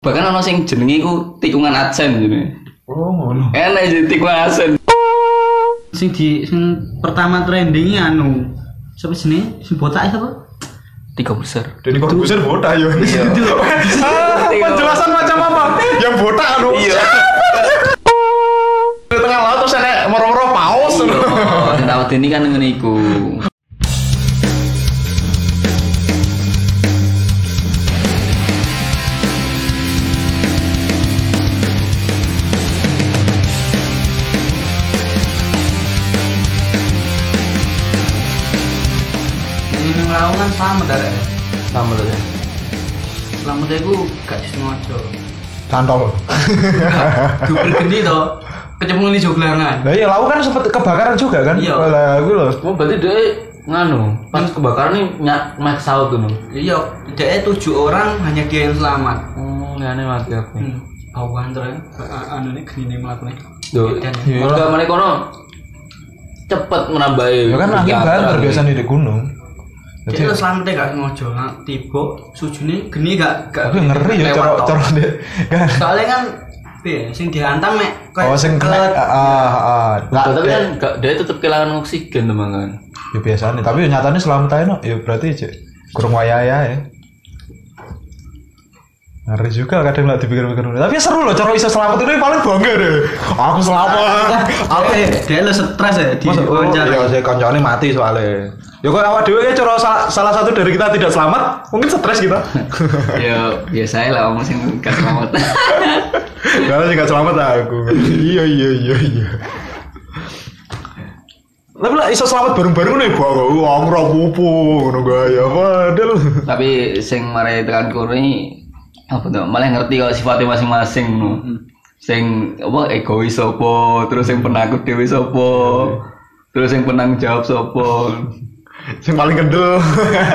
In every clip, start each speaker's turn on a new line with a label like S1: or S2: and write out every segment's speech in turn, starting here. S1: Bahkan ono sing jenenge iku tikungan adsen jenenge.
S2: Oh ngono.
S1: Enak jadi tikungan adsen.
S3: sing di sing pertama trending anu siapa sini sing botak ya, siapa
S1: Tiga besar.
S2: Deni Corbuzier botak yo. Ah, Penjelasan macam apa? Yang botak anu. Iya. Di tengah laut terus ada moro-moro paus.
S1: Oh, tahu ini kan ngene iku.
S3: ini nang lawangan selamat dari
S1: Sama tuh.
S3: selamat aku gak sengaja
S2: Santol.
S3: double geni to kecemplung di joglangan
S2: Lah iya, laut kan sempat kebakaran juga kan?
S3: Iya.
S2: Lah aku loh.
S1: Oh, berarti dia nganu pas kebakaran nih nyak mek saut tuh.
S3: iya tidak tujuh orang hanya dia yang selamat
S1: Hmm, ngene mati aku.
S3: hmm. bawaan terus anu ini geni melakukan
S1: Duh, warga mana kono cepet menambahi.
S2: Ya kan angin banter biasanya di gunung.
S3: jadi
S2: Jadi
S3: lo santai gak sengaja nah, tiba sujune geni gak gak
S2: aku ngeri ya
S3: lewat
S2: cara
S3: tok.
S2: cara dia kan.
S3: soalnya kan piye, sing dihantam mek kayak
S2: Oh sing kena
S3: kelet.
S2: ah ah, ah. Lah,
S1: tapi
S2: ya-
S1: kan gak- dia tetap kehilangan oksigen teman kan.
S2: ya biasanya tapi nyatanya selamat aja no. ya berarti cek kurang wayaya ya ngeri juga kadang nggak dipikir-pikir dulu. tapi ya seru loh cara bisa selamat itu paling bangga deh aku selamat
S3: Apa ya? Dia lo stres ya di
S2: Masa- oh,
S3: wawancara.
S2: Ah. iya, saya kancane mati soalnya ya kok awak dewe ya cara sa- salah satu dari kita tidak selamat mungkin stres kita
S1: ya biasanya lah orang sing gak selamat.
S2: karena sih nggak selamat aku iya iya iya iya tapi lah iso selamat bareng-bareng nih gua wah aku rapupu ngono gaya padahal
S1: tapi sing marai tekan kono ini apa tuh malah ngerti kalau sifatnya masing-masing no.
S2: Hmm.
S1: sing apa egois sopo terus yang penakut dewi sopo terus yang penang jawab sopo
S2: yang paling kendel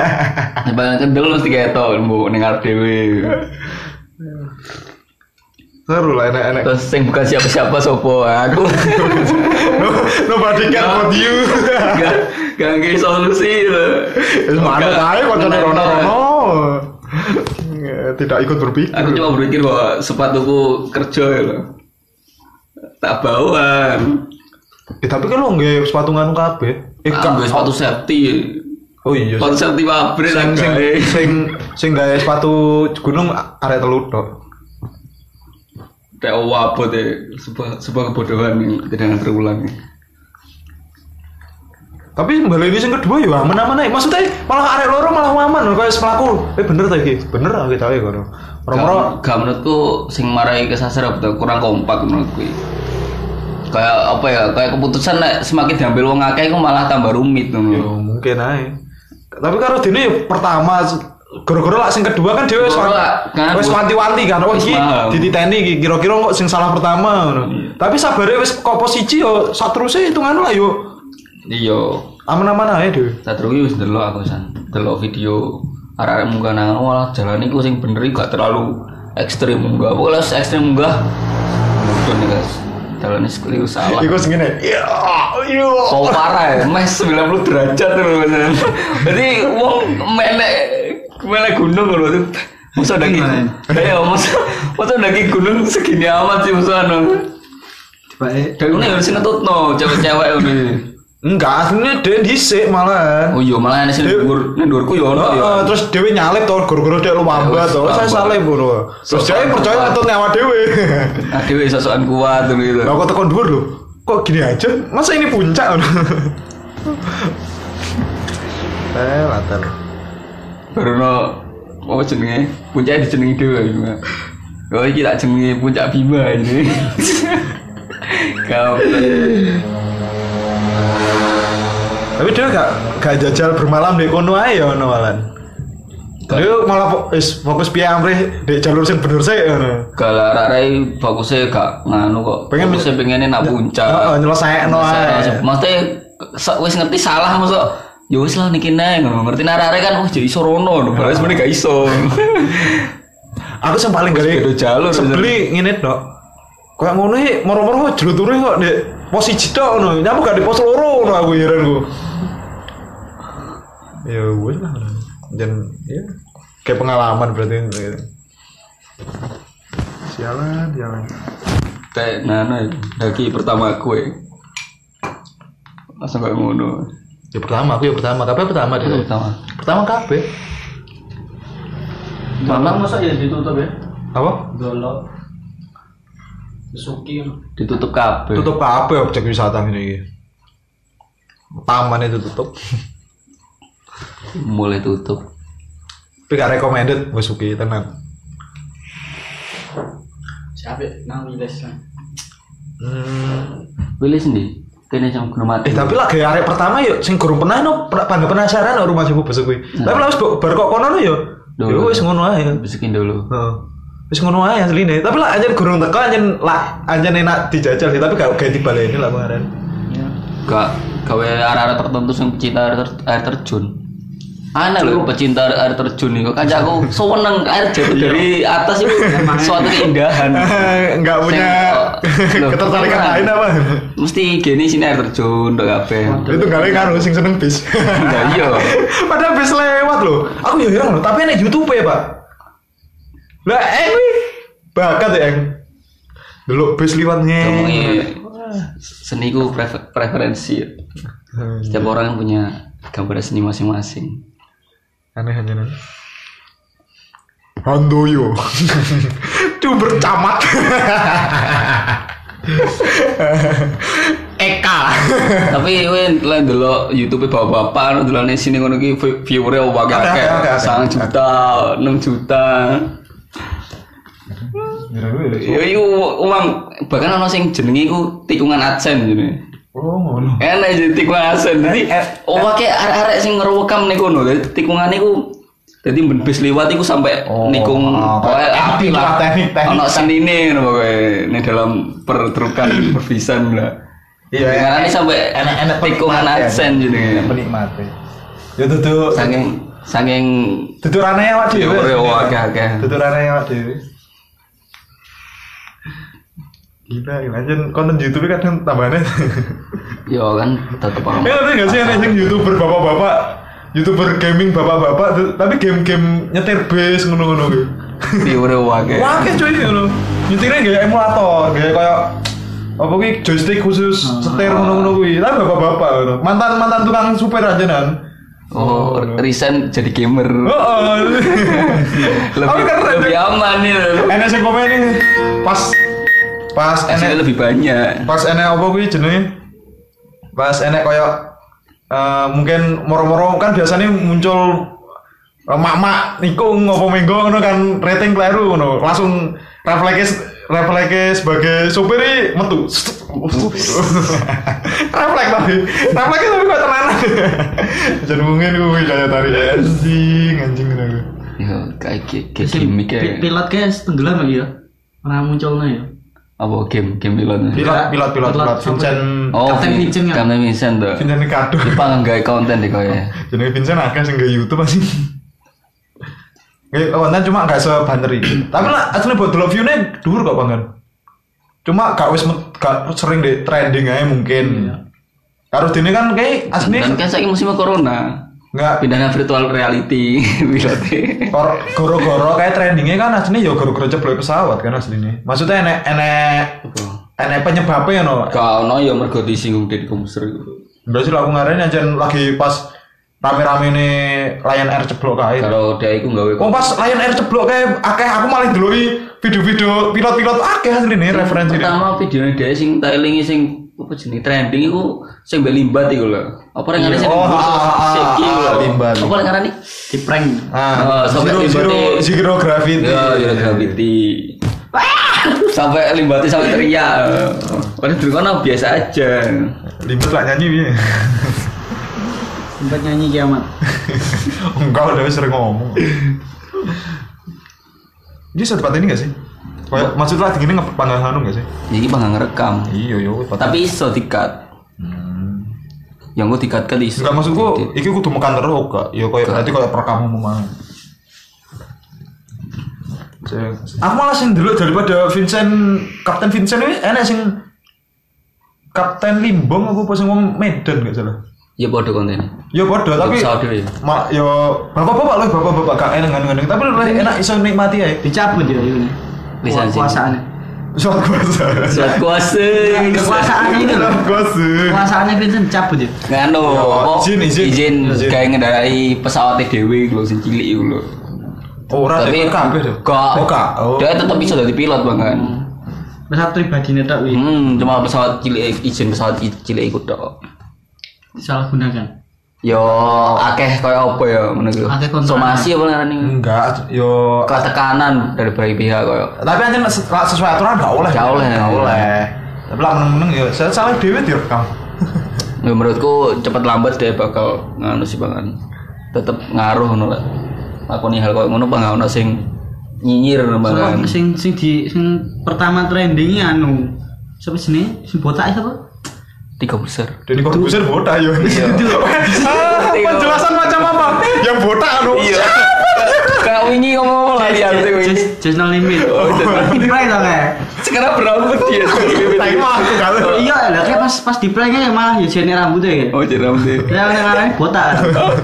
S1: Bang kendel mesti ketok mbok ning arep dhewe.
S2: seru lah enak-enak
S1: Terus sing bukan siapa-siapa sopo aku.
S2: no, nobody can but you
S1: Gak gak ngerti solusi lho.
S2: Wis manut ae kancane rono-rono Eh, Oh. tidak ikut berpikir
S1: Aku cuma berpikir bahwa sepatuku kerja ya lho. Tak bawaan.
S2: Eh, tapi kan lo nggak sepatu nganu kabeh eh
S1: Ikan gue sepatu safety.
S2: oh iya
S1: Sepatu safety pabrik
S2: sing
S1: aku
S2: sing
S1: gawe.
S2: sing sing gawe sepatu gunung arek telu tok
S1: Kayak wabot ya, sebuah, sebuah kebodohan yang tidak akan terulang.
S2: tapi balik ini sing kedua ya aman-aman ae maksudnya malah arek loro malah aman kaya sepelaku eh bener ta iki bener ta kita ya kono
S1: Gak,
S2: ora
S1: gak menurutku sing marai kesasar apa tuh, kurang kompak menurutku. Kayak apa ya, kayak keputusan nek semakin diambil wong akeh iku malah tambah rumit
S2: ya
S1: ngono.
S2: mungkin ae tapi karo dene ya pertama gara-gara lah sing kedua kan dhewe wis
S1: Gara-gara lah, kan.
S2: wis wanti-wanti kan oh
S1: Wis
S2: iki
S1: paham.
S2: dititeni iki kira-kira kok sing salah pertama ngono.
S1: Iya.
S2: Tapi sabare wis kopo siji ya, yo saterusé hitungan anu lah yo
S1: Iya,
S2: aman-aman ae dhewe.
S1: tak terus wis delok aku san. Delok video arek-arek munggah nang malah jalan iku sing bener iku gak terlalu ekstrim munggah. Pokoknya harus ekstrim munggah. Mudun nih guys. Jalan ini sekeliru salah.
S2: Iku sing ngene. Iya, iya.
S1: Kau Oh, parah ya, mes 90 derajat terus Mas. Jadi wong melek melek gunung lho itu. Masa daki. Ya masa masa daki gunung segini amat sih masa anu.
S3: Coba eh,
S1: Dan ini harus ngetutno cewek-cewek ini.
S2: Enggak, asline dhewe dhisik malah.
S1: Oh iya malah ini sini dhuwur, ini dhuwurku ya ono ya.
S2: Heeh, terus dhewe nyalip to gara-gara dhek lu wambat to.
S1: Iya, wis,
S2: Saya
S1: wambat.
S2: saleh bro. Terus
S1: Sopan,
S2: dhewe percaya
S1: sopan.
S2: ngetutne awak dhewe.
S1: Nah dhewe sosokan kuat ngono gitu.
S2: Lah kok tekan dhuwur lho. Kok gini aja? Masa ini puncak ngono. Eh, latar.
S1: Baru no apa jenenge? Puncaknya dijenengi dhewe gitu. Oh iki tak jenenge puncak Bima ini. Kau
S2: Tapi dia gak gak jajal bermalam di kono ae ya ono malan. Dia malah fo- is, fokus piye amrih di jalur sing bener sik ngono.
S1: Kalau Rai fokusnya gak nganu kok.
S2: Pengen- Ya, oh,
S1: fokusnya pengennya nak puncak.
S2: Heeh, nyelesaikno ae.
S1: Nyelesaikno. Maksudnya se- wis ngerti salah masuk. Ya wis lah niki nae ngono. Ngerti nak Rai kan wis jadi iso rono, lho. padahal sebenarnya gak iso.
S2: Aku sing paling gede
S1: beda jalur,
S2: Sebeli ngene tok. Kayak ngono iki moro-moro jeluture kok ndek pos siji tok ngono. Nyamu gak di pos loro ngono aku heran ku. Ya wis lah. Dan ya kayak pengalaman berarti. Jalan, jalan.
S1: kayak nana daki pertama kue langsung kayak ngono
S2: Ya pertama, aku ya pertama. Kape pertama
S1: itu
S2: deh.
S1: pertama
S2: Pertama kape.
S3: Malam masa ya ditutup ya?
S2: Apa?
S3: Golok. Suki.
S1: ditutup kabel
S2: Tutup kape objek wisata ini. Taman itu tutup.
S1: mulai tutup
S2: Tapi gak recommended gue suki tenan.
S3: Siapa? Nang Wiles lah.
S2: Hmm.
S1: pilih sendiri kayaknya jam gunung mati
S2: Eh tapi lagi arek pertama yuk sing gurung pernah no per- pada penasaran no rumah sepupu besok kuwi. Tapi lah wis bar kok kono no yo.
S1: Iya. Duh.
S2: Yo wis ngono ae.
S1: bisikin dulu
S2: Heeh. Wis ngono ae asline. Tapi lah anjen gurung teko anjen lah anjen enak dijajal sih tapi gak ganti baleni lah kemarin.
S1: gak gawe arah-arah tertentu yang pecinta air, ter- air terjun Anak loh pecinta air terjun nih, kok aku seneng air jatuh dari atas itu suatu keindahan.
S2: Enggak punya
S1: Sing- oh,
S2: ketertarikan
S1: loh,
S2: lain apa?
S1: Mesti gini sini air terjun untuk kabeh.
S2: Itu gak ada karo sing seneng bis.
S1: Ya iya.
S2: Padahal bis lewat loh. Aku ya heran loh, tapi enak YouTube ya, Pak. Lah, eh kuwi bakat ya, Eng. Delok bis liwatnya.
S1: Ngomongnya seni ku prefer- preferensi. Setiap orang punya gambar seni masing-masing.
S2: Aneh aneh aneh. Handoyo. Itu bercamat. Eka.
S1: Tapi win lain dulu YouTube e bapak-bapak anu delane sini ngono ki view- viewernya wong
S2: Ada,
S1: akeh.
S2: ada, ada.
S1: 9 juta, 6 juta. Ya
S2: Iya.
S1: iku uang bahkan ono sing jenenge iku tikungan adsense jenenge.
S2: Oh, ngono.
S1: enak jadi tikungan asen jadi
S2: Eh,
S1: oh kayak arek-arek sing ngeruwekam nih kono jadi tikungan niku jadi ben bis liwat iku sampai
S2: Oh,
S1: nikung
S2: ah,
S1: pokoknya
S2: teknik
S1: api
S2: lah,
S1: lah
S2: teknik, teknik.
S1: ono senine ngono pokoknya ini dalam perterukan perpisahan lah
S2: Iya,
S1: iya ini sampai
S2: Enak-enak
S1: tikungan
S2: penikmat, ya.
S1: adsen jadi
S2: Penikmati. Ya duduk.
S1: saking saking
S2: Tuturane awak dhewe.
S1: Tuturane awak akeh-akeh.
S2: Tuturane awak dhewe. Gila, gila. Anjen konten YouTube kadang tambahannya.
S1: ya kan tetep orang
S2: Eh, tapi nggak sih ada yang YouTuber bapak-bapak, YouTuber gaming bapak-bapak, tuh- tapi game-game nyetir base ngono-ngono gitu.
S1: viewer wakil
S2: Wah, kayak cuy ngono. Nyetirnya gaya emulator, gaya kayak apa kuwi joystick khusus setir ngono-ngono kuwi. Tapi bapak-bapak ngono. Mantan-mantan tukang supir aja nan.
S1: oh resign jadi gamer
S2: Heeh.
S1: lebih
S2: keren.
S1: lebih aman ya. nih
S2: Enak sing komen ini pas pas enak
S1: hasilnya lebih banyak
S2: pas enek apa kuwi jenenge pas enek koyo eh, mungkin moro-moro kan biasanya muncul eh, mak-mak nikung ngopo minggu ngono kan rating kleru ngono langsung refleks refleks sebagai sopir ini metu refleks tapi refleks tapi kok tenanan jadi mungkin gue kaya tarik anjing anjing ngono gue
S1: Ya, kayak ge- ge- ya.
S3: Sing
S1: gimmick
S3: pi-
S1: kayak
S3: Pilot guys tenggelam lagi ya. Ora munculnya ya.
S1: apa game game pilot.
S2: pilot pilot pilot
S3: Pilot,
S2: pilot Vincent
S1: Oh,
S3: Captain
S1: Vi-
S3: Vincent ya?
S1: Captain Vincent tuh.
S2: Vincent kado
S1: Jepang nggak konten deh ya. kaya.
S2: Jenenge Vincent akeh sing nggak YouTube pasti. Nggih, konten cuma gak sebanter iki. Tapi lah asline buat delok view-ne dhuwur kok konten. Cuma gak wis met- gak sering deh trending aja mungkin. Harus dini kan
S1: Dan
S2: kayak asline
S1: kan saya musim corona.
S2: nggak
S1: Pindahnya virtual reality pilot.
S2: kor- goro-goro kayak trendingnya kan asline ya goro-goro jeblok pesawat kan asline. Maksudnya enek enek enek penyebabnya ya no.
S1: Kau no ya mergo disinggung dari komputer.
S2: Enggak sih lah, aku ngarahin aja lagi pas rame-rame ini Lion Air ceblok kae.
S1: Kalau dia itu nggak
S2: Wong pas Lion Air ceblok kayak akeh aku malah ndeloki video-video pilot-pilot akeh asline referensi.
S1: Pertama video dia sing tailingi sing apa jenis trending itu sing mbek limbat iku lho. Apa yang ngarani sing
S2: Oh, ah, ah, ah,
S1: siki
S2: ah,
S1: lho.
S2: limbat.
S1: Apa yang ngarani?
S3: Di prank.
S1: Oh,
S2: Ah,
S1: sampai
S2: zero, zero,
S1: liberty.
S2: zero gravity.
S1: Ya, ya gravity. sampai limbati sampai teriak. Padahal dulu kan aku biasa aja.
S2: Limbat lah nyanyi iya. piye.
S3: Tempat nyanyi kiamat.
S2: Enggak udah wis sering ngomong. Jadi setempat ini gak sih? Kayak maksudnya lagi ini ngepanggang anu gak sih?
S1: Jadi bang nggak ngerekam.
S2: Iya yo.
S1: Tapi iso dikat.
S2: Hmm.
S1: Yang gue dikat kan iso.
S2: enggak maksudku iki kudu mekan terus kak. Ya kayak berarti kayak perekaman umum. Aku malah sing dulu daripada Vincent Kapten Vincent ini enak sing Kapten Limbong aku pas ngomong Medan gak salah.
S1: Ya bodoh konten.
S2: Ya bodoh tapi ya,
S1: Pesawat dhewe.
S2: mak kan, yo bapak-bapak loh bapak-bapak gak enak enak tapi lebih enak iso nikmati ae.
S3: Dicabut ya ini.
S1: Lisensi.
S3: Kuasaannya.
S2: Surat kuasa.
S1: Surat kuasa.
S3: Kekuasaan itu loh.
S2: Surat kuasa.
S3: Kuasaannya pinten cabut ya.
S1: Nganu, anu, apa?
S2: izin, izin.
S1: izin
S2: Izin.
S1: kayak ngendarai pesawat dhewe lho sing cilik iku lho.
S2: Ora
S1: Tapi
S2: deh, kabeh deh.
S1: Gak.
S2: Oh, gak. Oh. Hmm.
S1: Dia tetap bisa jadi pilot bahkan.
S3: Pesawat pribadi netok wi.
S1: Hmm, cuma pesawat cilik izin pesawat ci- cilik iku tok.
S3: Salah gunakan.
S1: Yo akeh koyo apa ya ngono iku.
S3: Akeh kontrakan.
S1: Somasi apa ngarani?
S2: Enggak, ya, yo
S1: Ketekanan dari berbagai pihak koyo.
S2: tapi anjir se- lah, sesuai aturan gak oleh
S1: Gak oleh.
S2: gak oleh
S3: Iya.
S2: tapi lah meneng-meneng ya saya salah dewe direkam
S1: Ya, menurutku cepat lambat dia bakal nganu sih banget tetep ngaruh ngono lah lakoni hal koyo ngono bang ono sing nyinyir
S3: Soalnya
S1: banget
S3: sing sing di sing pertama trendingnya anu. Siapa sini? Si botak ya, siapa?
S1: tiga besar
S2: Denny Corbuzier bodoh
S3: Iya.
S2: yo ya. Ah, penjelasan macam apa yang bodoh anu
S3: Iya.
S1: kayak wingi ngomong apa lagi aku tuh
S3: Just just no limit.
S1: Iya, Oh, Just No
S3: Di prank dong ya.
S1: sekarang berambut ya, dia
S2: tapi mah aku gak tahu.
S3: Iya, lah kayak pas pas di pranknya malah ya jene rambutnya ya.
S1: oh jadi rambut dia.
S3: Ya orang ngarani botak. kan.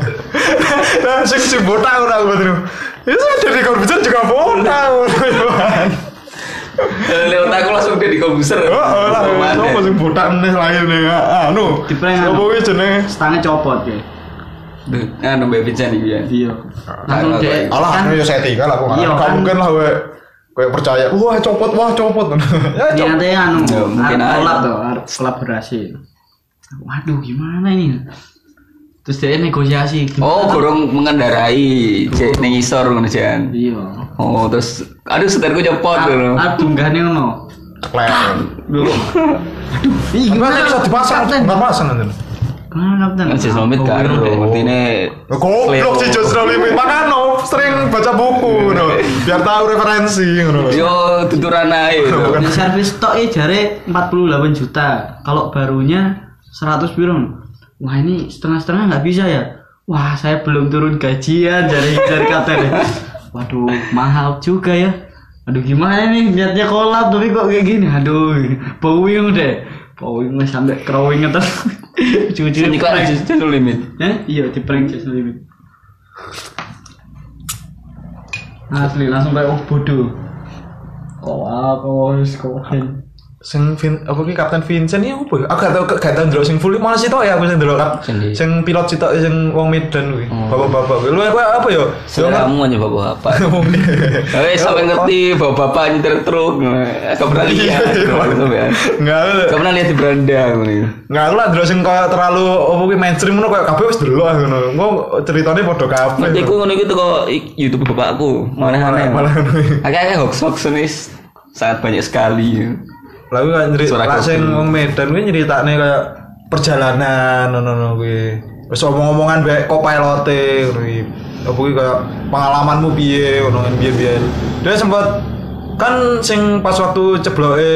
S2: Nah, sing sing bodoh aku aku betul ya saya Denny Corbuzier juga ya, bodoh
S1: lewat aku langsung jadi komputer
S2: Oh, oh, lah, sopo sing bodoh nih lain nih ah, anu,
S3: Di prank,
S2: sopo
S3: Iya. anu.
S2: iki jenenge?
S3: Stangnya copot ya.
S1: nah nomor Vincent iki ya
S3: Iya. Langsung
S1: Alah,
S3: dek.
S2: Alah,
S3: kan-
S2: anu yo settingan lah, aku nggak
S3: Iya,
S2: nggak
S3: kan.
S2: mungkin lah, we, kayak percaya, wah copot, wah copot, ya
S3: Ya
S2: copot,
S3: nanti anu,
S1: Ya, mungkin
S3: arep
S1: aja.
S3: kolab tuh, arep kolaborasi. Waduh, gimana ini? Terus dia negosiasi. gimana?
S1: oh gorong mengendarai cek ning isor ngono Jan
S3: Iya.
S1: oh terus aduh setirku copot dulu
S3: Arep dunggahne ngono.
S2: Kler.
S1: Iya.
S3: Ih,
S2: Enggak nanti bisa dipasang,
S3: Kapten?
S2: enggak pasang nanti.
S3: Gimana kapten? Oh, iya.
S1: Kan sis nomit karo ngertine
S2: Goblok sih Joshua Limit. Makanya no, sering baca buku no. Biar tahu referensi ngono. lho.
S1: Yo tuturan ae.
S2: Bukan.
S3: Di servis tok e jare 48 juta. Kalau barunya 100 piro. Wah, ini setengah-setengah nggak bisa ya. Wah, saya belum turun gajian dari dari kapten. ya. Waduh, mahal juga ya. Aduh gimana nih niatnya kolab tapi kok kayak gini. Aduh, bowing deh. Bowing sampai crowing terus. Jujur.
S1: Sini kok justru limit.
S3: Eh, iya di prank just limit. Asli langsung kayak oh bodoh. Kolab, oh wis kolab.
S2: Sing Vin, apa ki Kapten Vincent ini apa? ya? Aku gak tau, gak tau ndelok sing full. Mana sih tok ya aku sing ndelok kap.
S1: Sing- Oh.
S2: Sing pilot sih tok sing wong Medan kuwi. Bapak-bapak. kuwi. Lu aku apa
S1: Iya,
S2: ya? Yo
S1: Seleramu aja bapak-bapak. Eh, sampe ngerti bapak-bapak nyetir truk. Gak
S2: Iya.
S1: pernah lihat. iya.
S2: Enggak.
S1: Gak pernah lihat di beranda ngono. ya.
S2: Enggak aku lah ndelok sing koyo terlalu apa ki mainstream ngono koyo kabeh wis ndelok aku, ngono. Engko ceritane padha kabeh.
S1: Nanti aku ngono iku teko i- YouTube bapakku. Mana aneh.
S2: Malah ngono.
S1: Agak-agak hoax-hoax ini s- sangat banyak sekali.
S2: Lalu kan nyeri,
S1: Suara
S2: lah
S1: kopi.
S2: sing wong Medan kuwi nyeritakne kayak perjalanan ngono ngono kuwi. Wis omong-omongan bae kopilote ngono kuwi. Apa kuwi kayak pengalamanmu piye ngono kan piye-piye. Dia sempat kan sing pas waktu cebloke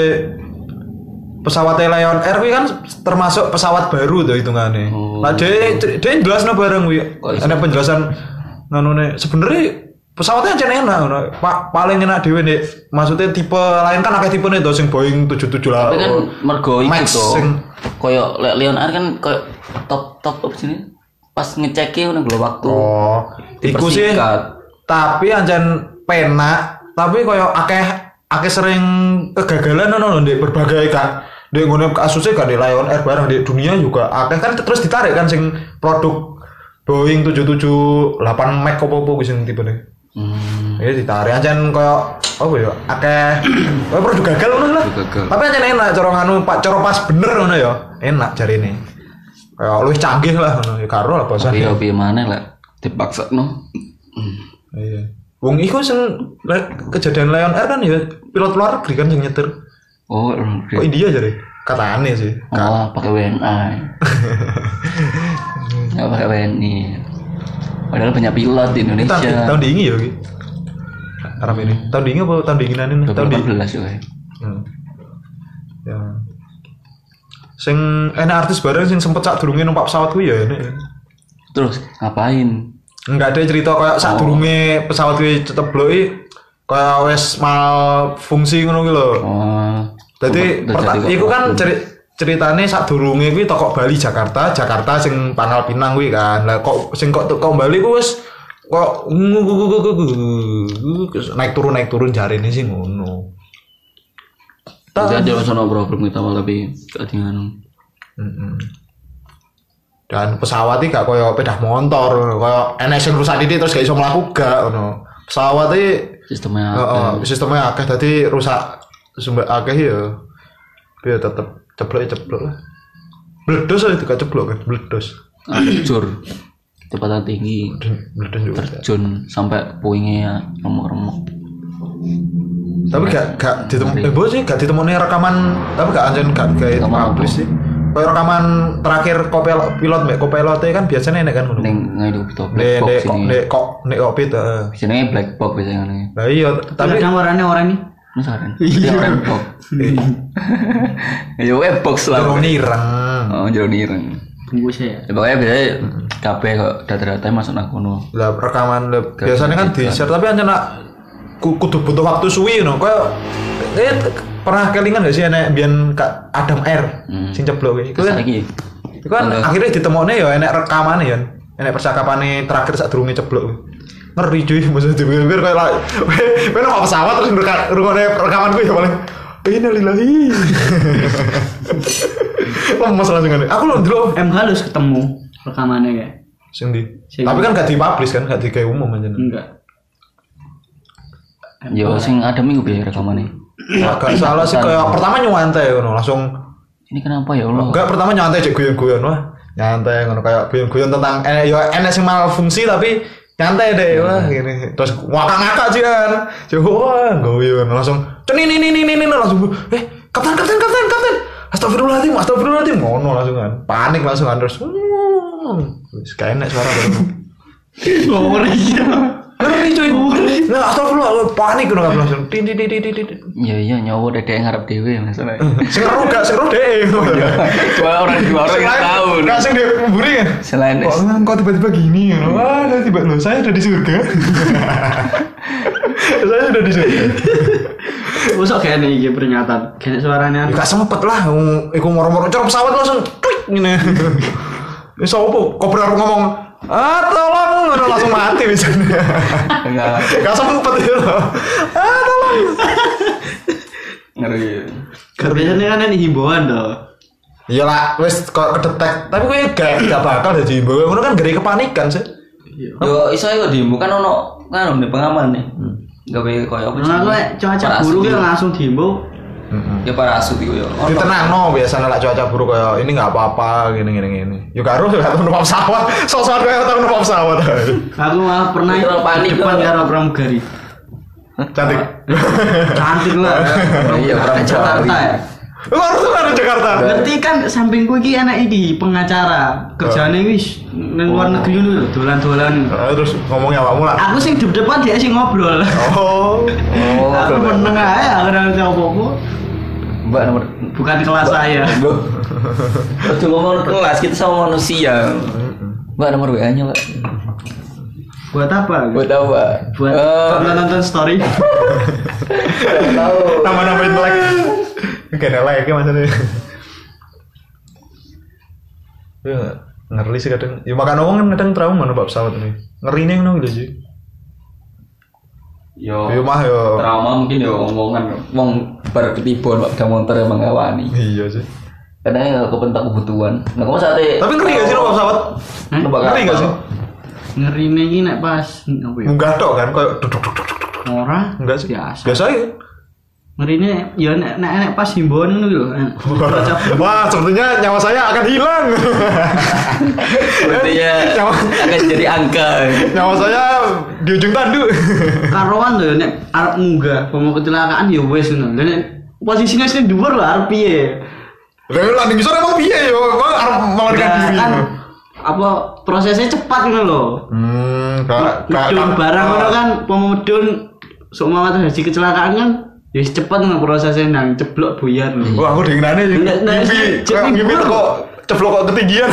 S2: pesawat Lion Air kuwi kan termasuk pesawat baru tuh hitungane.
S1: Oh.
S2: Lah Ah, dia dia jelasno bareng kuwi.
S1: Oh, iya.
S2: Ada penjelasan nganune sebenarnya pesawatnya aja enak ngono. Pa- paling enak dhewe nek maksudnya tipe lain kan akeh tipene to sing Boeing 77 lah. Oh.
S1: Tapi kan mergo iku
S2: Max
S1: to.
S2: sing-
S1: Koyo Le- Leon R kan koyo top top apa sini? Pas ngeceknya udah belum waktu.
S2: Oh, iku sih.
S1: Dipersingkat.
S2: Tapi anjen penak, tapi koyo akeh akeh sering kegagalan ngono lho Ndek, berbagai kan. Ndek ngene kasusnya gak di Lion Air bareng di dunia juga akeh kan terus ditarik kan sing produk Boeing 778 Max opo-opo kuwi sing tipene.
S1: Hmm.
S2: Ya ditarik anjen koyo apa ya akeh koyo produk gagal ngono lah.
S1: Produk gagal.
S2: Tapi anjen enak cara nganu Pak cara pas bener ngono ya. Enak jarine. Kayak luwih canggih lah ngono ya karo lah bahasa.
S1: Tapi opi mana lah? Dipaksa no. Hmm.
S2: Iya. Wong iku sing le- kejadian Lion Air kan ya pilot luar negeri kan yang nyetir.
S1: Oh,
S2: Kok
S1: oke.
S2: India aja deh. Kata aneh sih.
S1: Kalah pakai WNA. Enggak pakai WNI. Padahal banyak pilot di
S2: Ini tahun,
S1: Indonesia.
S2: tahun dingin ya Ki. Arab ini. Tahun dingin apa tahun dinginan ini? Tahun dingin.
S1: 2014 juga. ya.
S2: Hmm. Ya. Sing enak artis bareng sing sempet sak durunge numpak pesawat kuwi ya enak. ya.
S1: Terus ngapain?
S2: Enggak ada cerita kayak
S1: Oh.
S2: sak durunge pesawat kuwi cetebloki kayak wes mal fungsi ngono kuwi lho.
S1: Oh.
S2: Dadi
S1: Sempat
S2: perta-
S1: terjadi
S2: iku
S1: kok.
S2: kan ceri ceritane sadurunge kuwi tokok Bali Jakarta, Jakarta sing Pangkal Pinang kuwi kan. Lah kok sing kok teko Bali kuwi wis kok ngu- ngu- ngu- ngu- ngu- ngu- ngu- naik turun naik turun jari ini sih ngono.
S1: Kita ada sono problem kita malah tapi anu, tadi nganu.
S2: Mm-mm. Dan pesawat iki gak koyo pedah motor, koyo enek sing rusak titik terus gak iso mlaku gak ngono. Pesawat iki
S1: Sistemnya
S2: heeh, sistemnya akeh dadi rusak sumber akeh ya. Tapi ya tetep ceblok ya ceblok lah. Meledos aja gak ceblok kan, meledos.
S1: hancur. Kecepatan Ah, tinggi,
S2: Meledos juga.
S1: terjun sampai puingnya remuk-remuk.
S2: Tapi gak gak ditemukan eh, bos sih gak ditemoni rekaman, tapi gak anjen gak gak
S1: Rekaman
S2: publish sih. Koyo rekaman terakhir kopilot pilot mbek kopilote kan biasanya enek kan ngono. Nek
S1: Neng nggak itu black box
S2: nek
S1: ini.
S2: nek kok nek kokpit heeh.
S1: Jenenge black box biasanya ngene.
S2: Lah iya,
S3: tapi
S2: tapi
S3: kadang warnanya oranye
S1: Ini saran. Iya, orang box. Ya web box lah.
S2: jerone ireng.
S1: Oh, jauh ireng.
S3: bungkusnya ya
S1: Ya, pokoknya biasanya kabeh kok data-data masuk nang kono.
S2: Lah rekaman lah, biasanya kan di share tapi hanya nak ku- kudu butuh waktu suwi no. Kayak eh, pernah kelingan gak sih enek biyen Kak Adam R
S1: Hmm.
S2: sing ceblok iki. Iku kan,
S1: Saiki.
S2: iku kan akhirnya ditemokne ya enek rekamane ya. Enek percakapane terakhir saat durunge ceblok. kuwi. Ngeri cuy, maksudnya dipikir-pikir kayak lah. Weh, nang pesawat terus ngereka- ngerungokne rekaman gue ya paling. Innalillahi. Lemes langsung kan. Aku lo dulu
S3: MH harus ketemu rekamannya kayak
S2: sing di.
S3: Sing-
S2: Tapi kan gak dipublish kan, gak digawe umum aja.
S3: enggak
S1: Yo sing ada minggu biar rekamane.
S2: Agak salah sih kayak pertama nyantai ngono langsung
S1: Ini kenapa ya Allah?
S2: enggak pertama nyantai cek guyon-guyon wah nyantai ngono kayak guyon-guyon tentang eh yo enek sing malfungsi tapi nyantai deh wah gini terus ngakak-ngakak jian coba wah guyon langsung cen ini ini ini ini langsung eh kapten kapten kapten kapten astagfirullahaladzim astagfirullahaladzim ngono langsung kan panik langsung kan terus hmm. wis gak enek suara baru
S3: ngomongnya gitu
S2: ngeri cuy nah astagfirullah panik ngono kan langsung din din din din din din.
S1: Ya iya nyawa dedek ngarep dhewe masalahnya.
S2: sing ero gak sing ero deh
S1: Cuma orang di luar yang tahu.
S2: Selain- langsung dia memburi kan
S1: Selain
S2: kok kok tiba-tiba gini ya wah tiba loh saya udah di surga saya sudah di surga
S3: usah kayak nih gitu peringatan kayak suaranya
S2: Ya, gak sempet lah ngomong- iku moro-moro cara pesawat langsung klik Ya, gini ini sopo kok berharap ngomong ah tolong udah langsung mati bisa
S1: enggak
S2: gak sempet itu loh ah tolong
S1: ngeri.
S3: Gak biasanya kan ini himbauan toh.
S2: iyalah wes Ya kok kedetek tapi gue gak gak bakal jadi bawa kan gede kepanikan sih
S1: Yo iso iku di kan ono kan di pengaman nih. Gawe koyo apa sih?
S3: Hmm. Nah, aku kayak cuaca
S1: Parasut
S3: buruk
S1: iku.
S3: kan langsung dihimbau.
S1: Ya parasut iku yo. Ono.
S2: ditenangno biasanya lah cuaca buruk kayak ini nggak apa-apa gini gini gini yuk harus nggak tahu numpak pesawat sosok kayak tahu numpak pesawat
S3: Aku malah pernah
S1: Itu orang panik,
S3: di depan
S1: kok.
S3: karo pramugari.
S2: cantik
S3: Cantik lah.
S1: Iya, pramugari.
S3: Jakarta ya.
S2: lu harus tuh ada Jakarta
S3: Berarti kan sampingku iki anak iki pengacara. Kerjane wis nang luar negeri ngono lho, dolan-dolan.
S2: Nah, terus ngomongnya apa mula
S3: Aku sing di depan dia sing ngobrol.
S2: oh
S1: Oh,
S3: Aku
S2: bener.
S3: meneng ae aku nang opo
S1: Mbak nomor
S3: Bukan kelas saya.
S1: Aduh ngomong kelas kita sama manusia. Mbak nomor WA-nya, Pak.
S3: Buat apa?
S1: Buat apa?
S3: Buat
S1: Eh,
S3: nonton story.
S1: tahu.
S2: nama-nama intelek gak ada like maksudnya Ya, ngeri sih kadang ya makan uang kan kadang trauma numpak pesawat ini ngeri nih nung gitu sih
S1: Yo.
S2: ya mah yo
S1: Trauma mungkin ya omongan wong bar ketiban Pak Bedang Montor emang ngawani.
S2: iya sih
S1: Kadang ya kepentak kebutuhan. Nah, kamu sate.
S2: tapi ngeri gak sih numpak pesawat
S3: Hah?
S1: Numpak
S2: ngeri gak
S1: kapal.
S2: sih
S3: Ngerine iki nek pas apa ya?
S2: munggah tok kan kayak duduk duduk duduk
S3: Ora.
S2: enggak sih
S3: Biasa.
S2: biasa ya
S3: Ngerine ya nek nek nek pas himbauan ngono lho. nek cuaca buruk.
S2: Wah, sepertinya nyawa saya akan hilang.
S1: Sepertinya
S2: nyawa,
S1: akan jadi angka.
S2: nyawa saya di ujung tanduk.
S3: Karoan lho ya nek arep munggah pomo kecelakaan ya wis ngono. Lah nek posisinya sing dhuwur lho arep piye?
S2: Lah lu landing sore emang piye yo? Gua harus melarikan
S3: Nah,
S2: diri.
S3: Kan apa prosesnya cepat ngono lho.
S2: Hmm, kak,
S1: Nah,
S3: Medun barang ngono kan pomo medun seumpama terjadi kecelakaan kan ya wis cepet ngono prosesnya nang ceblok buyar lho.
S2: Wah, aku dengerannya sih.
S3: Nah, nah,
S2: Mimpi,
S3: jadi
S2: kayak mimpi
S3: buruk.
S2: kok ceblok kok ketinggian.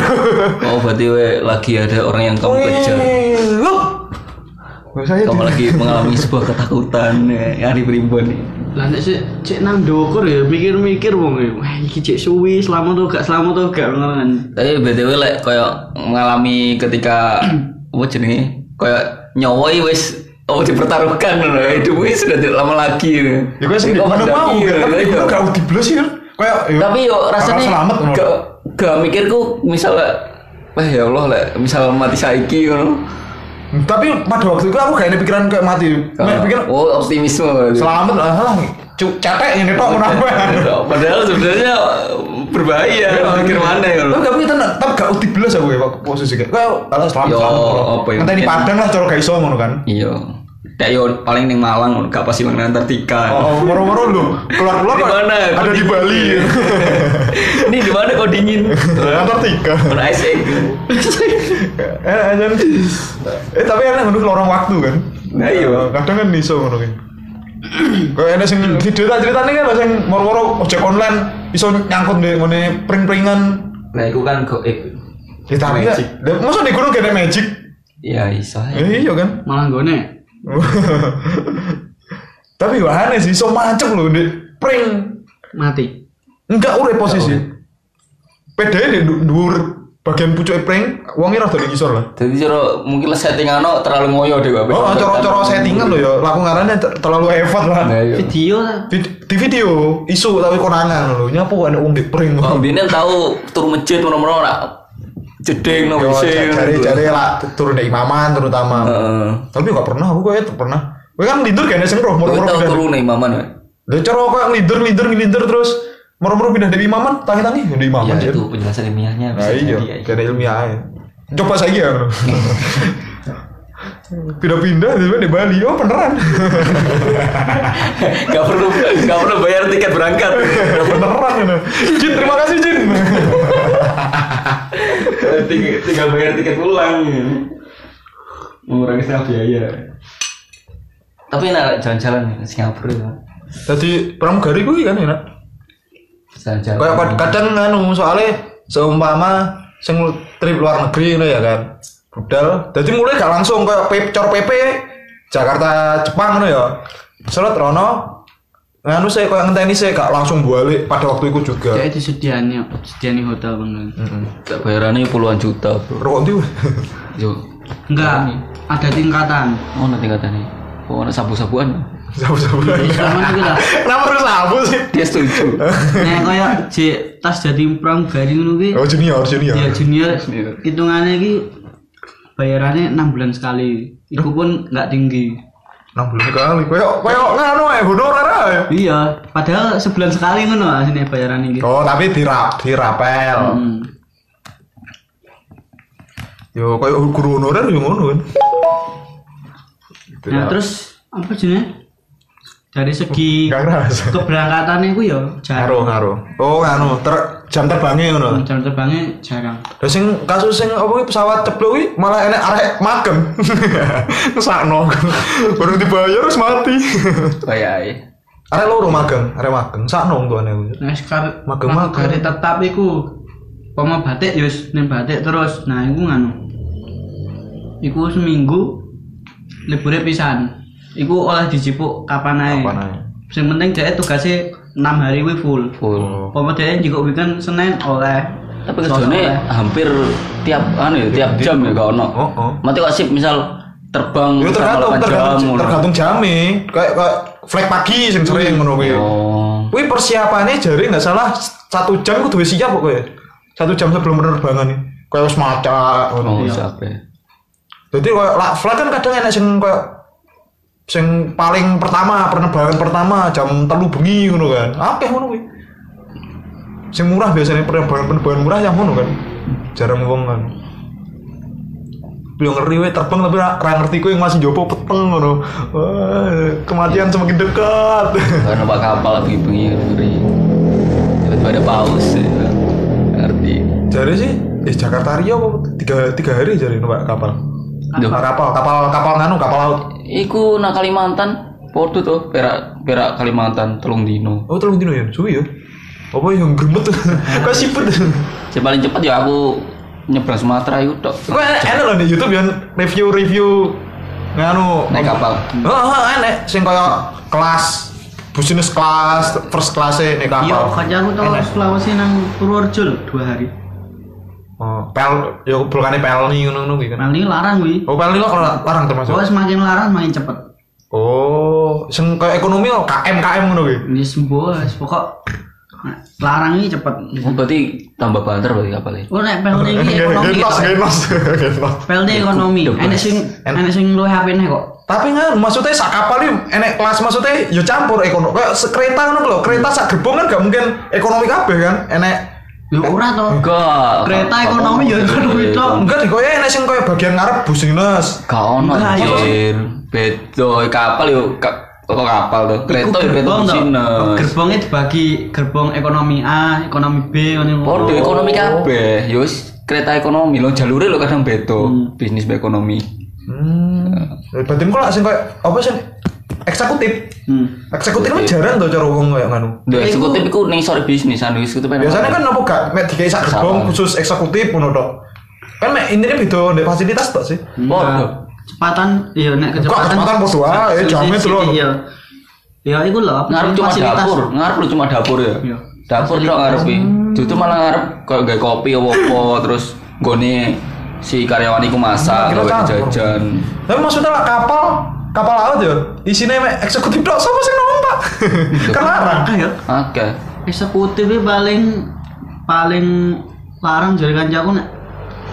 S1: Oh, berarti we, lagi ada orang yang
S2: Oh,
S1: kamu
S2: iya,
S1: kejar.
S2: Loh. Wah, Saya
S1: Kamu
S2: di-
S1: lagi mengalami sebuah ketakutan eh, yang diberimbun nih.
S3: Lah nek sik cek nang ndukur ya mikir-mikir wong ya. Wah iki cek suwi selamat tuh gak selamat tuh gak ngono kan.
S1: Tapi btw lek koyo mengalami ketika apa jenenge koyo nyawai wis oh dipertaruhkan ngono hidup wis sudah tidak lama lagi ngono.
S2: Ya gue sendiri
S1: Kok
S2: mana
S1: mendaki,
S2: mau
S1: ya,
S2: kan
S1: ya.
S2: itu gak udah belas ya kan. Kayak ya,
S1: tapi yo
S2: bakal
S1: rasanya
S2: selamat ngono.
S1: gak gak mikirku misalnya eh ya Allah lek misal mati saiki ngono
S2: Tapi pada waktu itu aku gak ada pikiran kayak mati. Mek pikir
S1: oh optimisme
S2: selamat lah lah. Cuk cetek ini tok ngono apa.
S1: padahal sebenarnya berbahaya mikir mana ya
S2: Tapi Iya, tapi kita tetap gak udah belas aku ya Pak, posisi kayak. Kayak kalau selamat
S1: Yo,
S2: selamat. ngono.
S1: apa ya,
S2: Ngenteni
S1: mungkin.
S2: padang lah cara gak iso ngono kan.
S1: iya Dek yo paling ning Malang ngono, gak pasti nang Antartika.
S2: Oh, oh, moro-moro lu keluar-keluar
S1: Iya. Di
S2: kok
S1: mana? Iya.
S2: Ada di
S1: Kok
S2: Bali.
S1: dingin? Ini di mana kok dingin?
S2: Antartika.
S1: Ono ice egg.
S2: Eh, aja nih. Eh, tapi enak ngono lorong waktu kan.
S1: Nah, iya.
S2: Kadang kan iso ngono kan. Kayak enak sing di cerita ceritanya kan ada sing moro-moro ojek online iso nyangkut di ngene pring-pringan.
S1: Nah, itu kan goib.
S2: Ya tapi ya,
S1: Magic.
S2: ya, masa di gunung kena magic?
S1: Ya iso. ae.
S2: Eh, iya kan.
S3: malah gone
S2: tapi wah aneh sih iso macet loh di pring.
S3: mati
S2: Enggak urip posisi. Pedhe di du- dhuwur bagian pucuk pring, wonge rada di ngisor lah.
S1: Jadi cara mungkin lah settingan no terlalu ngoyo deh gua.
S2: Oh, coro-coro settingan loh ya. Laku ngarannya ter- terlalu hebat lah.
S1: Nah, iya.
S3: video lah
S2: Di, di video isu tapi konangan loh. Nyapa ada uang di pring.
S1: Oh,
S2: Oh,
S1: biyen tahu tur masjid ngono-ngono nak jeding no
S2: iya,
S1: wis.
S2: cari-cari lah turun dari imaman terutama.
S1: Heeh.
S2: Tapi gak pernah, aku kayaknya tuh pernah. Gue kan lindur kayaknya sing roh
S1: Kowe
S2: moro-moro
S1: tahu
S2: pindah.
S1: turu nih imaman.
S2: ya?
S1: we?
S2: Lah cara kayak lindur lindur lindur terus moro-moro pindah dari imaman, tangi-tangi dari imaman.
S1: Ya
S2: Jen.
S1: itu penjelasan ilmiahnya
S2: Nah,
S1: bisa
S2: iya,
S1: jadi, ya.
S2: karena ilmiah aja. Coba saiki ya. bro. Pindah-pindah tiba di Bali, oh beneran.
S1: Gak perlu gak perlu bayar tiket berangkat.
S2: beneran ini. Jin, terima kasih Jin.
S1: Ting- Eh, Tinggal bayar tiket pulang. ya. Mengurangi setengah biaya. Tapi enak jalan-jalan ke Singapura ya.
S2: Tadi pramugari gue kan enak.
S1: Jalan-jalan.
S2: Kayak kad- kadang anu soalnya seumpama sing trip luar negeri ngono ya kan. Budal. Jadi mulai gak langsung kayak pep cor PP Jakarta Jepang ngono ya. Selat Rono nganu saya kayak ngenteni saya gak langsung balik pada waktu itu juga.
S3: kayak disediani disediani hotel banget
S2: Heeh.
S1: Gak bayarannya ya puluhan juta, Bro.
S2: Rokok ndi?
S1: Yo.
S3: enggak ada tingkatan
S1: Oh, nanti katanya. Oh, ada sabu-sabuan.
S2: Sabu-sabu.
S3: jadi selama itu lah
S2: Kenapa harus sabu sih?
S1: Dia setuju.
S3: nek kayak jek tas jadi pramugari ngono kuwi
S2: Oh junior junior.
S3: ya junior
S1: Junior.
S3: hitungannya iki bayarannya enam bulan sekali itu pun nggak tinggi
S2: Enam bulan kali. Kayak kayak nganu ae honorer ae.
S3: iya padahal sebulan sekali ngono asine bayaran iki
S2: Oh tapi dirap dirapel.
S3: hmm.
S2: Yo kayak guru honorer yo ngono kan.
S3: nah terus apa jenenge dari segi
S2: Gak ngerasa.
S3: keberangkatan iku ya
S2: Ngaruh,
S3: jarang
S2: ngaruh. Oh, nganu, ter jam terbangnya ngono.
S3: jam terbangnya jarang
S2: Lah sing kasus sing apa kuwi pesawat ceblok kuwi malah enek arek magem. Ngesakno. Baru dibayar terus mati.
S1: Kayak ae.
S2: arek loro magem, arek magem. Sakno untuane kuwi.
S3: nah sekarang
S2: Magem-
S3: pramugari tetap iku pama batik yus nih batik terus nah iku nganu iku seminggu liburnya pisan iku oleh dijipuk kapan ae
S2: Apa nae?
S3: Sing penting dia tugasnya 6 hari we full.
S2: Oh.
S1: Full.
S3: Pomo dia juga weekend Senin oleh.
S1: Tapi kerjanya hampir tiap anu ya, tiap jam ya gak ono.
S2: Oh, oh.
S1: Mati kok sip misal terbang
S2: Yo tergantung
S1: selama 8
S2: tergantung
S1: ngono.
S2: tergantung jame. Kayak kayak flag pagi sing sering ngono kuwi.
S1: Oh.
S2: Kuwi persiapannya jare nggak salah satu jam kudu wis siap pokoknya. Satu jam sebelum penerbangan nih. Kayak wis maca ngono.
S1: Oh, siapa?
S2: Jadi kayak lah, flight kan kadang enak sing kayak sing paling pertama penerbangan pertama jam telu bengi ngono kan. Akeh ngono kuwi. Sing murah biasanya penerbangan penerbangan murah yang ngono kan. Jarang wong kan. Belum ngeri we terbang tapi ra ra ngerti kowe masih jopo peteng ngono. Wah, kematian semakin dekat.
S1: Karena bawa kapal lagi bengi ngeri. Tiba-tiba ada paus. ya. Ngerti.
S2: Jare sih eh Jakarta Rio apa tiga tiga hari jare numpak kapal.
S1: Duh.
S2: Ah, Kapal kapal kapal nganu kapal laut.
S1: Iku nak Kalimantan, Porto tuh, perak perak Kalimantan, telung dino.
S2: Oh, telung dino ya? Suwi ya? Apa yang gremet tuh? Kok sipet?
S1: Saya paling cepat ya aku nyebrang Sumatera itu tok.
S2: Kok enak, enak loh di YouTube yang review-review nganu.
S1: Naik kapal.
S2: Heeh, oh, enak sing kaya kelas business class, first class naik
S3: Iya,
S2: kapal.
S3: kancaku tau Sulawesi nang Purworejo lho 2 hari.
S2: Oh, pel yo bulkane pelni ngono-ngono kuwi kan.
S3: Mel ini larang wi.
S2: Oh, pelni lo kalau larang termasuk.
S3: Oh semakin larang makin cepet.
S2: Oh, sing kayak ekonomi lo KM KM ngono kuwi.
S3: Ini sembuh, pokok Nah, larang ini cepet.
S1: Oh, berarti tambah banter berarti kapalnya.
S3: Oh nek pel ini ekonomi.
S2: Genos, genos, genos.
S3: Pel ini ekonomi. Enak sing enak sing luwe HP nih kok.
S2: Tapi kan maksudnya sak kapal ini enek kelas maksudnya yo campur ekonomi. Kayak se- kereta ngono lho, kereta sak gerbong kan gak mungkin ekonomi kabeh kan. Enek
S3: Ya ora toh.
S1: Enggak.
S3: Kereta
S1: Gak- gak
S3: ekonomi ya
S1: ono.
S3: ekonomi tok.
S2: enggak di koyo enek sing koyo bagian ngarep bus dinas.
S1: Gak ono
S3: Enggak, ya. yo.
S1: anjir. Bedo kapal yo ka- kok kapal tuh. Kereta yo kereta
S3: toh. Oh,
S1: business.
S3: Gerbongnya dibagi gerbong ekonomi A, ekonomi B, ngono.
S1: Podo ekonomi kabeh. Yo wis kereta ekonomi lo jalure lo kadang bedo. Bisnis be ekonomi.
S2: Hmm. Berarti kok lah sing koyo apa sih eksekutif.
S3: Hmm.
S2: Eksekutif kan jarang tuh cara wong koyo nganu.
S1: Duh, eksekutif iku ning sore bisnis anu eksekutif. enak.
S2: Biasanya kan nopo gak mek dikai sak gerbong
S1: Sama.
S2: khusus eksekutif ngono tok. Kan mek intine beda ndek fasilitas tok sih.
S3: kan-
S1: Podo.
S3: Cepatan, iya nek
S2: Kok Eh,
S3: kecepatan.
S2: kecepatan podo ae,
S3: Sisi-
S2: jamin
S3: sisi-
S2: lho.
S3: Iya. Ya iku lho, apa
S1: Ngarep
S3: sih,
S1: cuma
S3: fasilitas.
S1: dapur, ngarep lu cuma dapur ya.
S3: Iya.
S1: Dapur tok ngarepe.
S2: Hmm.
S1: Dudu malah ngarep koyo gawe kopi apa terus gone si karyawan iku masak,
S2: Kira
S1: gawe
S2: campur.
S1: jajan.
S2: Tapi maksudnya lah kapal kapal laut ya isinya mek eksekutif tok sapa sing numpak? kan larang.
S3: Ah, ya.
S1: Oke.
S3: eksekutif ini paling paling larang jadi kancaku nek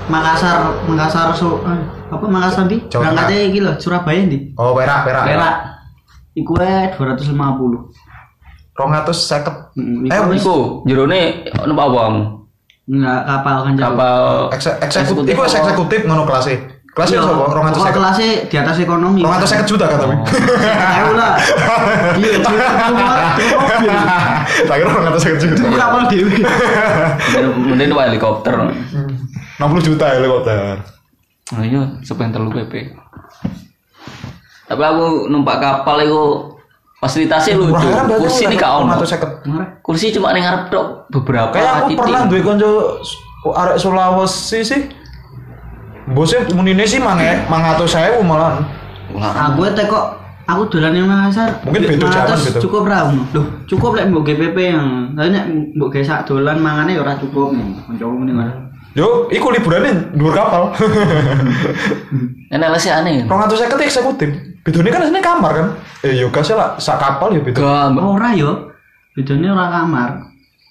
S3: Makassar Makassar so, eh, apa Makassar di
S2: Jawa Tengah.
S3: berangkatnya iki lho Surabaya di
S2: Oh, perak, perak.
S3: Perak iku ae 250
S2: 250.
S3: Mm, iku
S2: Eh,
S3: wis-
S1: Iku jerone numpak apa kamu?
S3: enggak kapal kan, kancaku
S1: Kapal
S2: ekse- eksekutif iku
S1: apa?
S2: eksekutif ngono kelasnya. Kelasnya
S3: Iya,
S2: sapa?
S3: pokok
S2: 250.
S3: kelasnya di atas ekonomi
S2: 250 juta kan
S1: Oh.
S2: tapi.
S3: Ayo lah iya cuma cuma mobil
S2: Tak kira 250 juta.
S1: Iya,
S3: Cuma kapal dewi
S1: Mending- Mending numpak helikopter.
S2: Hmm. 60 juta ya, helikopter.
S1: Nah, iya, sampai terlalu PP. Tapi aku numpak kapal itu fasilitasnya lucu.
S2: kan
S1: Kursi ini gak ono.
S2: 250.
S1: Kursi cuma ning ngarep tok beberapa
S2: Kayak aku
S1: titik.
S2: pernah duwe konco su- arek Sulawesi sih. Bosnya munine sih e, mange 100.000 malahan.
S1: Ular.
S3: iya. aku teh kok aku dolan yang Makassar
S2: Mungkin beda zaman,
S3: 500
S2: beda.
S3: cukup ra Om. Loh, cukup lek mbok GPP yang tapi nek mbok ge sak dolan mangane ya ora cukup nih kancaku muni ngono
S2: Yo, iku liburane dhuwur kapal.
S1: Enak lah sih aneh.
S2: 250 itu eksekutif. Bedone kan aslinya kamar kan. Eh yo gasnya lah sak kapal ya beda.
S1: Gak, Mbak.
S3: ora yo bedane ora kamar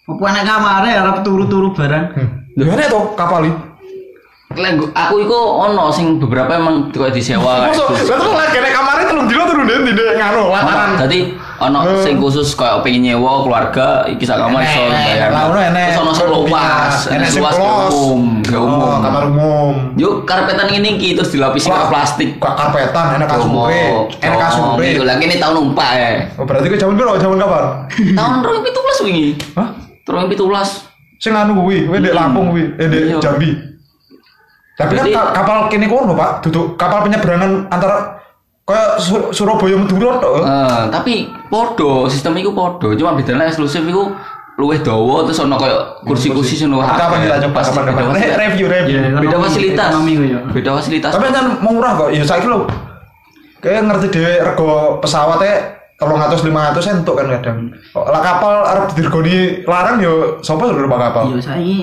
S3: apa enak kamare ya ora turu-turu barang
S2: Yo enek to kapal iki.
S1: Lek gua- aku itu ono sing beberapa emang kok disewa kayak
S2: Mosok
S1: gitu.
S2: lah terus lah kene kamare telung dino turun ndi ndi nganu lataran.
S1: Ono, Jadi ono
S2: Hmm.
S1: sing khusus kayak pengen nyewa keluarga iki sak kamar iso
S2: Enek,
S1: bayar.
S2: lah, ono enek. Iya,
S1: Terus ono sing luas, enek
S2: sing
S1: luas
S2: close.
S1: ke umum, ke
S2: Oh,
S1: umum.
S2: kamar umum.
S1: Yuk karpetan ini iki terus dilapisi ke
S2: Wah.
S1: plastik.
S2: Kak karpetan enak kasure. Enak kasure.
S1: Iku lagi ini tahun numpak ya.
S2: Oh, berarti ke zaman piro? Zaman kapan?
S1: Tahun 2017 wingi.
S2: Hah?
S1: Tahun 2017.
S2: Sing anu kuwi, kuwi ndek Lampung kuwi, eh ndek
S1: Hmm. Iya.
S2: Jambi. Tapi kan
S1: Berarti-
S2: ka- kapal kene kono, Pak. Duduk kapal penyeberangan antara kayak Sur- Surabaya Madura tok.
S1: Eh, tapi podo, sistem iku podo. Cuma bedanya eksklusif iku luwih dawa terus ono koyo kursi-kursi sing luwih akeh.
S2: Kapan kita coba
S1: Anu, Pasti
S2: kapan kapan?
S1: beda fasilitas.
S2: Review review.
S3: Iya,
S1: Beda
S3: Ekonomi-
S1: fasilitas.
S3: ekonomi ku ya. yo.
S1: Beda fasilitas.
S2: Tapi kan mau murah kok. Ya saiki lho. Kayak ngerti dhewe rego pesawatnya 300 500 entuk kan kadang. Kok Lah kapal arep didirgoni larang yo sapa suruh numpak kapal?
S1: Iya.
S3: yo saiki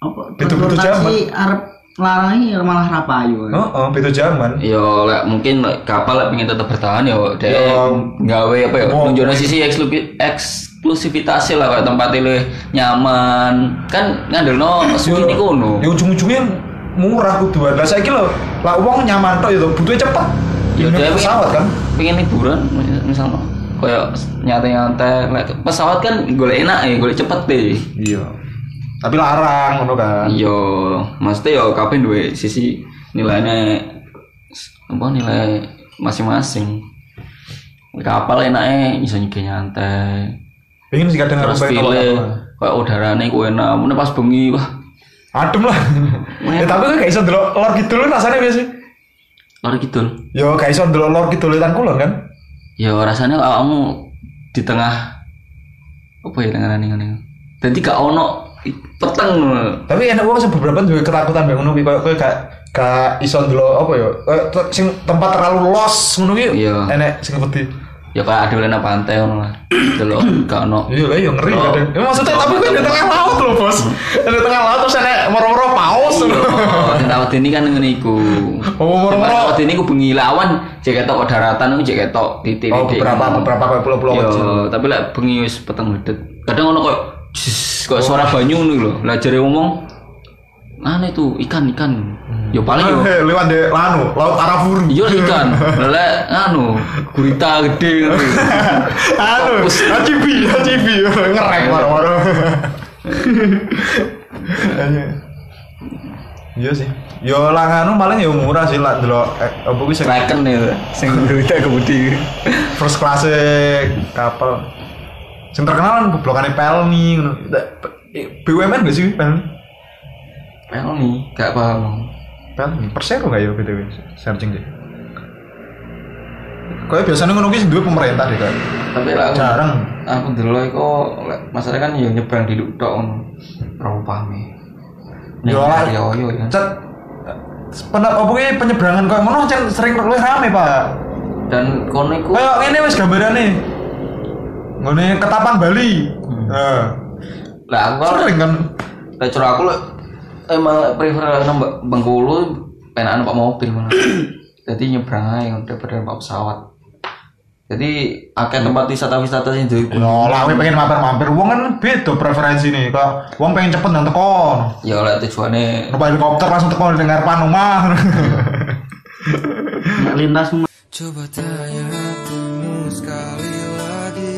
S3: apa
S2: Oh. Betul-betul
S3: transportasi arep larang iki malah ra payu
S2: Heeh, beda zaman.
S1: Yo lek mungkin lek kapal lek pengen tetap bertahan yo dek
S2: Yo,
S1: gawe apa ya
S2: wow.
S1: nunjukno sisi eksklu- eksklusivitasnya lah kayak tempat luwih nyaman. Kan ngandelno suwi niku ngono.
S2: Ya ujung-ujungnya murah kuduan. Lah saiki lho, lah wong nyaman tok itu butuh cepet.
S1: Ya, dia-
S2: Ya pesawat kan.
S1: pengen liburan misalnya kayak nyantai-nyantai lek pesawat kan golek enak ya golek cepet deh
S2: Iya. Tapi larang ngono kan.
S1: yo maksudnya yo kabeh duwe sisi nilainya apa nilai masing-masing kapal enaknya bisa nyegah nyantai
S2: Pengen sih kadang
S1: terus
S2: harus bayar
S1: Iya. file
S2: kapal-kapal.
S1: kayak udarane ku enak mene pas bengi wah
S2: Adem lah. ya, tapi kan gak iso ndelok lor kidul rasanya biasa.
S1: lari kidul
S2: Yo gak iso ndelok lor kidulan kulon kan.
S1: ya rasanya kamu di tengah apa ya tengah nih jadi gak ono peteng
S2: Tapi enak wong sing beberapa juga ketakutan mbek ngono kuwi koyo koyo gak gak iso ndelok apa ya. Koyo te- sing tempat terlalu los ngono kuwi.
S1: Iya.
S2: Enek sing wedi.
S1: ya kayak adolan apa pantai ngono lah. Delok gak ono.
S2: Iya lah, ya
S1: Oh.
S2: ngeri kadang. Ya, maksudnya tapi kan di tengah laut loh bos. Di tengah laut terus ada moro-moro paus.
S1: Oh, sing tawet ini kan ngene iku.
S2: Oh,
S1: Sing
S2: moro-moro.
S1: tawet ini ku bengi lawan cek ketok kok daratan iku cek ketok titik.
S2: Oh beberapa beberapa kayak pulau-pulau
S1: Yo,
S2: kecil.
S1: tapi lek bengi wis peteng dedet. Kadang ono kok jis, kok suara
S2: Oh.
S1: banyu ngono lho. Lah jare ngomong aneh tuh ikan-ikan. Yo paling yo
S2: Eh, Lewat di lanu, laut Arafuru.
S1: Iya lah, ikan, lele, anu, gurita gede gitu.
S2: Anu,
S1: Fokus.
S2: ACB, ACB, ngerek moro-moro. Iya sih. Yo lang anu paling yo murah sih lah delok eh, apa kuwi sing
S1: Kraken ya, sing gurita kebudi.
S2: first class kapal. Sing terkenal kan blokane Pelni ngono. Da- eh, BUMN gak sih Pelni?
S1: Pelni, gak paham.
S2: Pelni Persero gak ya BTW searching deh. Kayak biasanya ngono kuwi sing duwe pemerintah deh kan.
S1: Tapi lah, aku,
S2: Jarang.
S1: aku dulu kok, masalah kan yang nyebrang di Lukdok. Terlalu paham ya. Nih,
S2: Yo lah.
S1: yo, yo, ya.
S2: Cet. Pendak apa kuwi penyeberangan koyo ngono cen sering luwih rame, Pak.
S1: Dan kono iku,
S2: Kayak ngene wis gambarane. Ngene ketapang Bali. Heeh.
S1: lah aku kan,
S2: Sering kan.
S1: lah cara aku lah, emang lah prefer nambah Bengkulu, penahan pak mobil malah. Jadi nyebrang aja daripada pak pesawat. Jadi akeh tempat wisata-wisata sing duwe
S2: Ya lah kowe pengen mampir-mampir wong kan beda preferensi nih. Kok wong pengen cepet nang teko.
S1: ya oleh tujuannya
S2: Numpak helikopter langsung teko ning ngarepan omah.
S3: Nak lintas
S4: Coba tanya hatimu sekali lagi